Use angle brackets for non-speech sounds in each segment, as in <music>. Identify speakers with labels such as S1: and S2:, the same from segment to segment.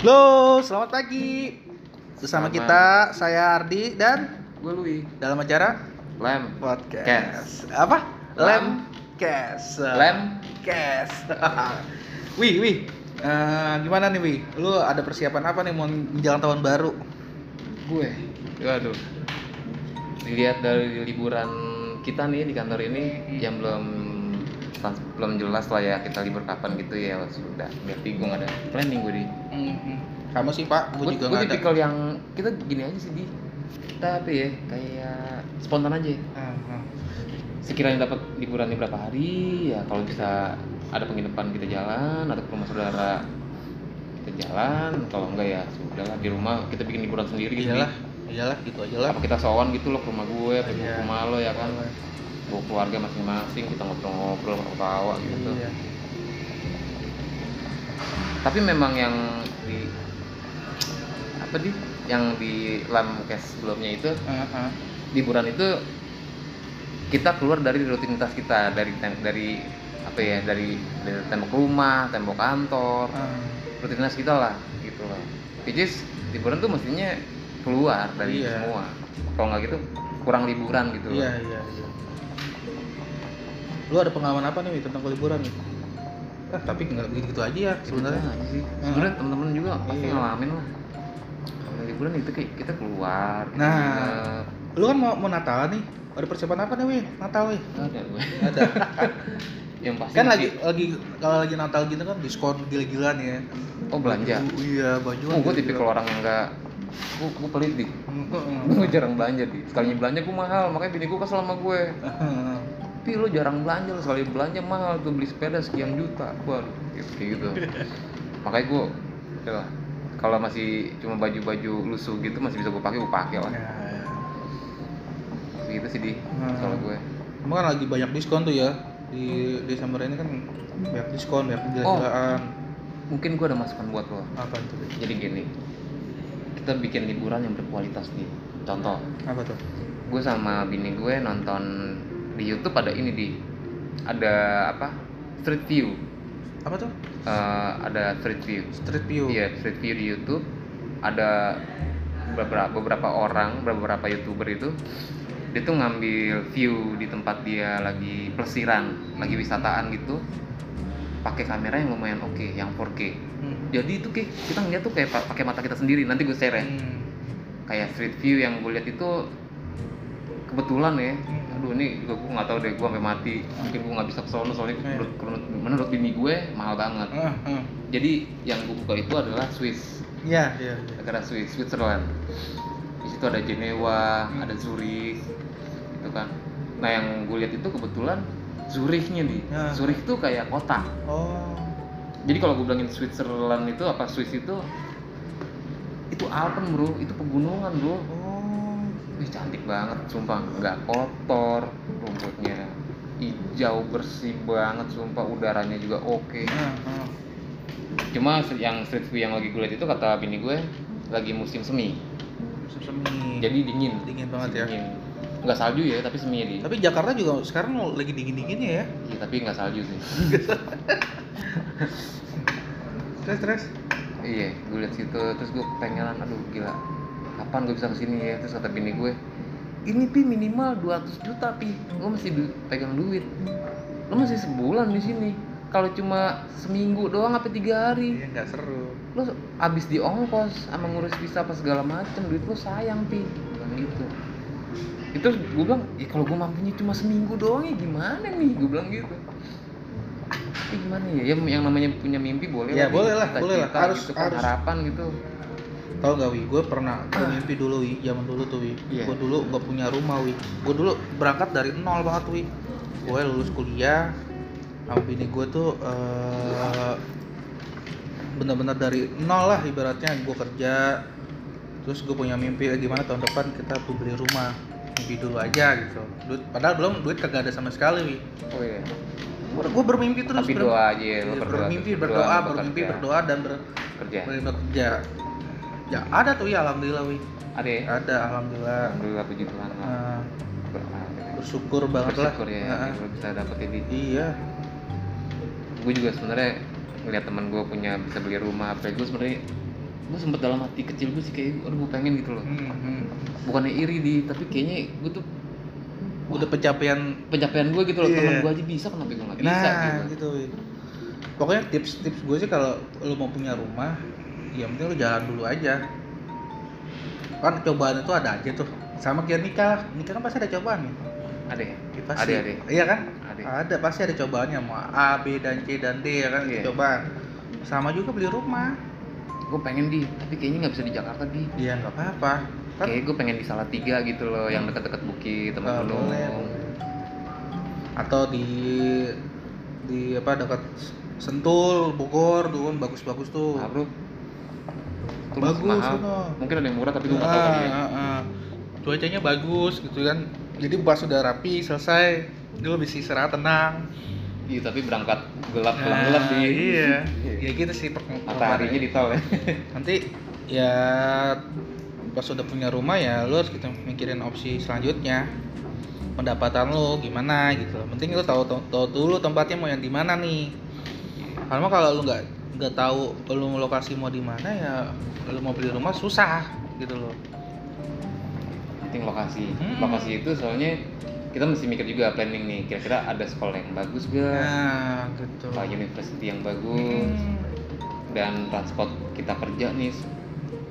S1: Halo, selamat pagi. Bersama
S2: Selamat.
S1: kita, saya Ardi dan
S2: Gue Lui
S1: dalam acara
S2: Lem
S1: podcast. Apa?
S2: Lem.
S1: Lemcast.
S2: Lem
S1: Lemcast. <laughs> wih, wih. Eh, gimana nih, Wi? Lu ada persiapan apa nih mau menjelang tahun baru?
S2: Gue Waduh Dilihat dari liburan kita nih di kantor ini Yang belum trans- belum jelas lah ya kita libur kapan gitu ya sudah berarti gue nggak ada planning gue di
S1: Kamu sih, Pak. Gue juga
S2: gue
S1: nggak ada.
S2: tipikal yang kita gini aja sih di kita apa ya kayak spontan aja
S1: Ah,
S2: sekiranya dapat liburannya berapa hari ya kalau bisa ada penginapan kita jalan atau ke rumah saudara kita jalan kalau enggak ya sudahlah di rumah kita bikin liburan sendiri gitu
S1: Iyalah,
S2: Bi.
S1: iyalah gitu aja lah.
S2: apa kita sowan gitu loh ke rumah gue atau ke
S1: Iya.
S2: rumah lo ya kan bawa keluarga masing-masing kita ngobrol-ngobrol ketawa gitu
S1: Iya.
S2: tapi memang yang di apa di yang di lamkes sebelumnya itu
S1: Aha.
S2: liburan itu kita keluar dari rutinitas kita dari tem- dari apa ya dari, dari tembok rumah tembok kantor
S1: Ah.
S2: rutinitas kita lah gitu lah which is liburan tuh mestinya keluar dari
S1: Iya.
S2: semua kalau nggak gitu kurang liburan gitu
S1: Iya, iya, iya. Lu ada pengalaman apa nih Wi, tentang liburan nih? Ah, tapi nggak gitu-gitu aja ya
S2: sebenarnya
S1: sebenarnya.
S2: sih Iya. sebenarnya temen-temen juga pasti
S1: Iya.
S2: ngalamin lah Kalau liburan itu kayak kita keluar kita
S1: Nah.
S2: nginep.
S1: Lu kan mau, mau Natal nih. Ada persiapan apa nih, Wi? Natal, Wi?
S2: Nggak ada gue
S1: Ada.
S2: yang pasti
S1: <laughs> kan
S2: sih-
S1: lagi lagi kalau lagi Natal gitu kan diskon gila-gilaan ya.
S2: oh belanja
S1: Baju- Iya, baju.
S2: oh gue tipikal orang yang nggak gue gue pelit nih gue jarang belanja di sekalinya belanja gue mahal makanya bini gue kesel sama gue tapi lo jarang belanja lo sekali belanja mahal tuh beli sepeda sekian juta waduh gitu, kayak gitu makanya gue ya lah, kalau masih cuma baju-baju lusuh gitu masih bisa gue pakai gue pakai lah
S1: Iya.
S2: gitu sih di
S1: Hmm.
S2: kalau gue
S1: Emang kan lagi banyak diskon tuh ya di Desember ini kan banyak diskon, banyak
S2: Oh.
S1: gila-gilaan.
S2: mungkin gue ada masukan buat lo
S1: Apa tuh? Wi?
S2: jadi gini kita bikin liburan yang berkualitas nih contoh
S1: Apa tuh?
S2: gue sama bini gue nonton di YouTube ada ini di ada apa street view
S1: Apa tuh?
S2: Eh, ada street view
S1: Street view.
S2: Iya, street view di YouTube ada beberapa beberapa orang, beberapa youtuber itu dia tuh ngambil view di tempat dia lagi pelesiran, lagi wisataan gitu pakai kamera yang lumayan oke, yang 4K.
S1: Hmm.
S2: Jadi itu kayak kita ngeliat tuh kayak pa- pakai mata kita sendiri. Nanti gue share ya.
S1: Hmm.
S2: Kayak street view yang gue lihat itu kebetulan ya. Aduh ini gue gue nggak tahu deh gue sampai mati. Mungkin gue nggak bisa kesono soalnya
S1: Iya.
S2: menurut, menurut, menurut bini gue mahal banget.
S1: Ah, ah.
S2: Jadi yang gue buka itu adalah Swiss,
S1: Iya, iya, iya.
S2: negara Swiss, Switzerland. Di situ ada Jenewa,
S1: Hmm.
S2: ada Zurich, gitu kan. Nah yang gue lihat itu kebetulan Zurichnya nih.
S1: Ya.
S2: Zurich tuh kayak kota.
S1: Oh.
S2: Jadi kalau gue bilangin Switzerland itu apa Swiss itu itu Alpen bro, itu pegunungan bro.
S1: Oh.
S2: Wih cantik banget, sumpah nggak kotor, rumputnya hijau bersih banget, sumpah udaranya juga oke.
S1: Ah, ah.
S2: cuma se- yang street view yang lagi gue lihat itu kata bini gue lagi musim semi
S1: Semi.
S2: jadi dingin
S1: dingin banget ya.
S2: dingin nggak salju ya tapi semi ya di
S1: Tapi Jakarta juga sekarang lagi dingin-dinginnya ya.
S2: Iya, tapi nggak salju sih
S1: Terus terus.
S2: iya gue lihat situ terus gue pengenan aduh gila kapan gue bisa kesini ya terus kata bini gue ini pi minimal 200 juta pi lo masih du- pegang duit lo masih sebulan di sini kalau cuma seminggu doang apa tiga hari
S1: Iya, nggak seru.
S2: lo abis di ongkos sama ngurus visa apa segala macem duit lo sayang pi bilang gitu itu gue bilang ya kalau gue mampunya cuma seminggu doang ya gimana nih gue bilang gitu ya gimana ya yang, yang namanya punya mimpi boleh
S1: Ya,
S2: Pi.
S1: boleh lah, boleh lah.
S2: Cita-cita
S1: Harus-
S2: gitu kan,
S1: harus.
S2: harapan gitu
S1: Tahu nggak Wi? Gue pernah gue mimpi dulu Wi, zaman dulu tuh Wi.
S2: Ah. Iya.
S1: Gue dulu nggak punya rumah Wi. Gue dulu berangkat dari nol banget Wi. Gue lulus kuliah. Sama bini gue tuh eh, bener-bener dari nol lah ibaratnya gue kerja terus gue punya mimpi eh, gimana tahun depan kita tuh beli rumah mimpi dulu aja gitu duit padahal belum duit kagak ada sama sekali wi
S2: oh iya
S1: gue bermimpi terus
S2: tapi
S1: ber-
S2: doa aja ya, lo
S1: iya,
S2: berdoa
S1: bermimpi
S2: terus.
S1: berdoa
S2: bekerja, Iya.
S1: bermimpi berdoa dan ber-
S2: kerja
S1: bekerja ya ada tuh ya alhamdulillah wi
S2: ada ya
S1: ada alhamdulillah
S2: alhamdulillah puji Tuhan lah
S1: Nah,
S2: Berdoa, gitu.
S1: bersyukur banget lah
S2: bersyukur ya
S1: Nah,
S2: lo bisa dapet ini
S1: iya
S2: gue juga sebenarnya ngeliat teman gue punya bisa beli rumah apa gue sebenarnya gue sempet dalam hati kecil gue sih kayak aduh gue pengen gitu loh
S1: Hmm, hmm.
S2: bukannya iri di tapi kayaknya gue tuh
S1: udah pencapaian
S2: pencapaian gue gitu loh
S1: Iya.
S2: teman gue aja bisa kenapa gue nggak bisa
S1: nah
S2: gitu
S1: gitu. Wi. pokoknya tips-tips gue sih kalau lu mau punya rumah ya penting lu jalan dulu aja kan cobaan itu ada aja tuh sama kayak nikah lah nikah kan pasti ada cobaan nih
S2: ada ya
S1: Ya, pasti.
S2: Ada, ada.
S1: iya kan
S2: ada
S1: ada pasti ada cobaannya mau A B dan C dan D ya kan
S2: Iya.
S1: cobaan sama juga beli rumah
S2: gue pengen di tapi kayaknya nggak bisa di Jakarta di
S1: ya nggak apa-apa kan
S2: kayak gue pengen di Salatiga gitu loh yang dekat-dekat bukit temen
S1: eh,
S2: gunung
S1: boleh, boleh. atau di di apa dekat Sentul Bogor tuh kan bagus-bagus tuh
S2: ah bro itu
S1: bagus
S2: mahal
S1: sono.
S2: mungkin ada yang murah tapi gue nggak tahu
S1: Ah,
S2: kali ya
S1: ah, ah. cuacanya bagus gitu kan jadi pas sudah rapi selesai lu bisa istirahat tenang
S2: iya tapi berangkat gelap gelap gelap
S1: Nah,
S2: di <laughs>
S1: iya ya gitu sih per-
S2: mataharinya di tol ya
S1: nanti ya pas udah punya rumah ya lu harus kita mikirin opsi selanjutnya pendapatan lu gimana gitu loh penting lu tahu tahu dulu tempatnya mau yang di mana nih karena kalau lu nggak nggak tahu lu lokasi mau di mana ya lu mau beli rumah susah gitu loh
S2: penting lokasi
S1: Mm-mm.
S2: lokasi itu soalnya kita mesti mikir juga planning nih kira-kira ada sekolah yang bagus gak
S1: nah gitu
S2: apa university yang bagus
S1: Hmm.
S2: dan transport kita kerja nih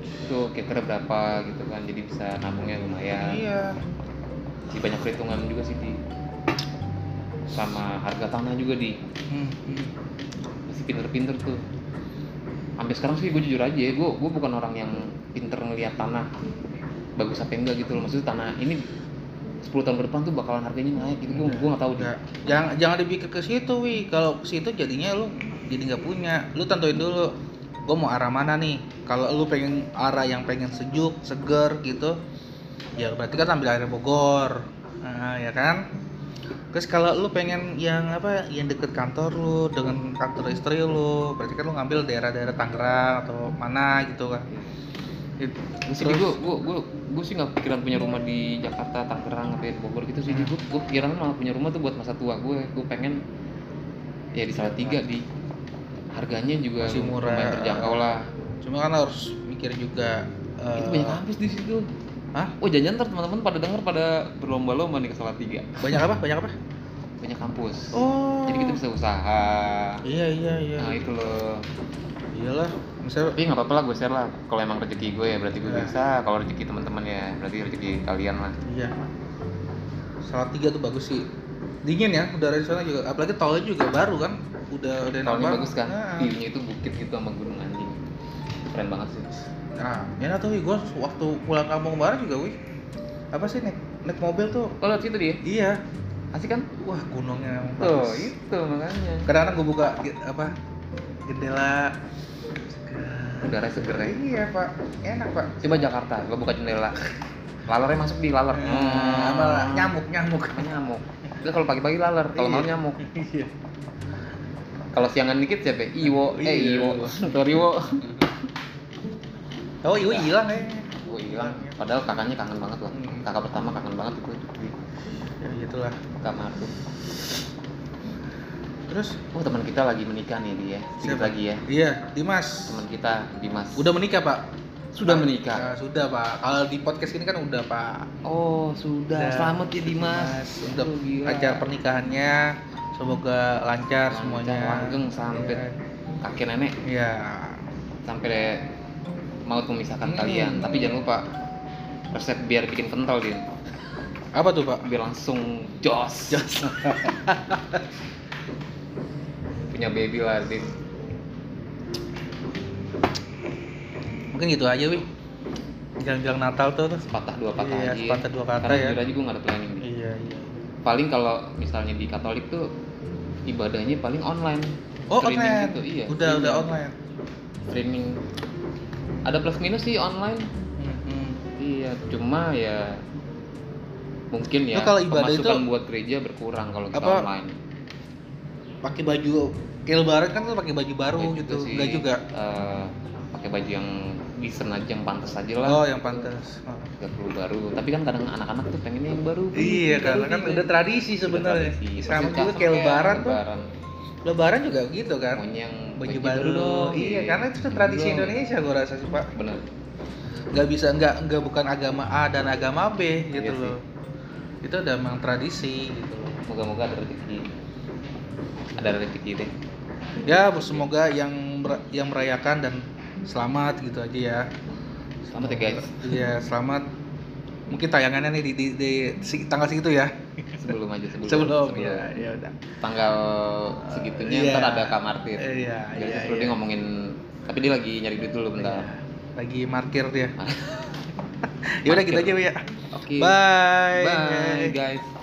S2: itu kira-kira berapa gitu kan jadi bisa nabungnya lumayan
S1: iya
S2: Jadi banyak perhitungan juga sih di sama harga tanah juga di
S1: Hmm, hmm.
S2: mesti pinter-pinter tuh sampai sekarang sih gue jujur aja ya gue gue bukan orang yang pinter ngelihat tanah bagus apa enggak gitu loh maksudnya tanah ini 10 tahun ke depan tuh bakalan harganya naik gitu gue gue nggak tahu deh
S1: Nggak. jangan jangan dipikir ke situ wi kalau ke situ jadinya lu jadi nggak punya lu tentuin dulu gue mau arah mana nih kalau lu pengen arah yang pengen sejuk seger gitu ya berarti kan ambil area Bogor nah, ya kan terus kalau lu pengen yang apa yang deket kantor lu dengan kantor istri lu berarti kan lu ngambil daerah-daerah Tangerang atau mana gitu kan
S2: Terus gue gue gue gue sih nggak pikiran punya rumah di Jakarta, Tangerang, atau di Bogor gitu
S1: Hmm.
S2: sih. Gue gue pikiran malah punya rumah tuh buat masa tua gue. Gue pengen ya di Salatiga di harganya juga
S1: Masih murah.
S2: lumayan terjangkau lah.
S1: cuma kan harus mikir juga
S2: Itu
S1: eh,
S2: banyak kampus di situ.
S1: Hah?
S2: Oh jangan ntar teman-teman pada denger pada berlomba-lomba nih ke Salatiga.
S1: banyak apa banyak apa
S2: Banyak kampus.
S1: oh
S2: Jadi kita bisa usaha.
S1: iya iya iya
S2: Nah itu loh.
S1: iyalah misalnya
S2: Tapi nggak apa-apa lah gue share lah. Kalau emang rezeki gue ya berarti gue
S1: Iya.
S2: bisa. Kalau rezeki teman-teman ya berarti rezeki kalian lah.
S1: iya salah tiga tuh bagus sih dingin ya udara di sana juga apalagi tolnya juga baru kan udah udah
S2: Tahunnya
S1: nambah.
S2: bagus kan?
S1: nah,
S2: View-nya itu bukit gitu sama gunung anjing. Keren banget sih.
S1: nah enak tuh gue waktu pulang kampung kemarin juga wih apa sih naik naik mobil tuh
S2: Oh, lihat situ dia.
S1: iya
S2: Asik kan?
S1: wah gunungnya emang
S2: Tuh,
S1: bagus.
S2: iya. itu makanya.
S1: kadang-kadang gue buka ge- apa jendela
S2: Udara seger ya.
S1: iya pak enak pak
S2: Coba Jakarta, gua buka jendela. Lalernya masuk di laler. Hmm.
S1: Eh, sama nyamuk nyamuk
S2: Apa nyamuk. Terus kalau pagi-pagi laler, kalau
S1: Iya.
S2: malam nyamuk.
S1: <laughs> iya
S2: Kalau siangan dikit siapa? ya? Iwo,
S1: Iya.
S2: eh iwo. <laughs> Toriwo.
S1: oh iya hilang ya
S2: Gue hilang. Padahal kakaknya kangen banget loh.
S1: Hmm.
S2: Kakak pertama kangen banget itu di
S1: ya gitulah
S2: kamar tuh.
S1: terus
S2: Oh, teman kita lagi menikah nih dia. Sedikit
S1: siapa?
S2: lagi ya.
S1: iya Dimas
S2: Teman kita Dimas.
S1: udah menikah pak
S2: sudah menikah.
S1: Ya, sudah pak. Kalau di podcast ini kan udah pak.
S2: Oh sudah,
S1: Udah.
S2: selamat ya Dimas.
S1: Udah
S2: Aduh, gila.
S1: acara pernikahannya semoga lancar,
S2: Lancar,
S1: semuanya.
S2: langgeng sampai kakek nenek
S1: Iya.
S2: sampai maut memisahkan
S1: Hmm.
S2: kalian. Tapi jangan lupa resep biar bikin kental din,
S1: Apa tuh pak?
S2: biar langsung jos.
S1: Jos.
S2: <laughs> Punya baby lah din.
S1: Mungkin gitu aja wih. Jalan-jalan Natal tuh. tuh.
S2: Sepatah dua patah
S1: Iya,
S2: aja.
S1: sepatah dua kata
S2: Karena
S1: ya.
S2: jujur aja gue nggak ada planning. Din.
S1: Iya iya.
S2: Paling kalau misalnya di Katolik tuh ibadahnya paling online.
S1: Oh
S2: Streaming
S1: online.
S2: gitu, iya.
S1: Udah
S2: streaming.
S1: udah online.
S2: Streaming. Ada plus minus sih online.
S1: Mm-mm.
S2: Iya, cuma ya mungkin ya
S1: Lu kalau ibadah
S2: pemasukan
S1: itu-
S2: buat gereja berkurang kalau kita
S1: Apa?
S2: online.
S1: Pakai baju kayak lebaran kan tuh pakai baju baru
S2: Nggak
S1: gitu.
S2: sih,
S1: Enggak juga.
S2: eh, pakai baju yang decent aja yang pantas aja lah.
S1: Oh yang pantas. Oh.
S2: Gak perlu baru. Tapi kan kadang anak-anak tuh pengennya yang baru.
S1: Iya
S2: baru,
S1: karena kan
S2: baru.
S1: udah tradisi
S2: Udah
S1: sebenarnya.
S2: tradisi.
S1: Sama
S2: Persis
S1: juga kayak lebaran tuh.
S2: lebaran. gitu
S1: Lebaran juga gitu kan.
S2: maunya yang
S1: Baju baru. Iya, karena itu tradisi Indonesia gua rasa sih, Pak.
S2: benar
S1: Nggak bisa nggak nggak bukan agama A dan agama B
S2: Iya
S1: gitu
S2: sih.
S1: loh. Itu udah memang tradisi gitu loh.
S2: moga-moga ada rezeki ada rezeki deh
S1: Ya, semoga yang mer- yang merayakan dan selamat gitu aja ya.
S2: selamat ya guys
S1: Iya, selamat. Mungkin tayangannya nih di, di, di si- tanggal segitu ya.
S2: sebelum aja sebelum
S1: Sebelum.
S2: sebelum.
S1: Ya, ya udah.
S2: tanggal segitunya
S1: Iya.
S2: ntar ada kak Martir
S1: Iya,
S2: Jadi
S1: iya.
S2: sebelum
S1: iya.
S2: dia ngomongin tapi dia lagi nyari duit dulu bentar
S1: Lagi markir dia. ya udah kita aja
S2: Markir.
S1: ya.
S2: oke
S1: Bye.
S2: bye guys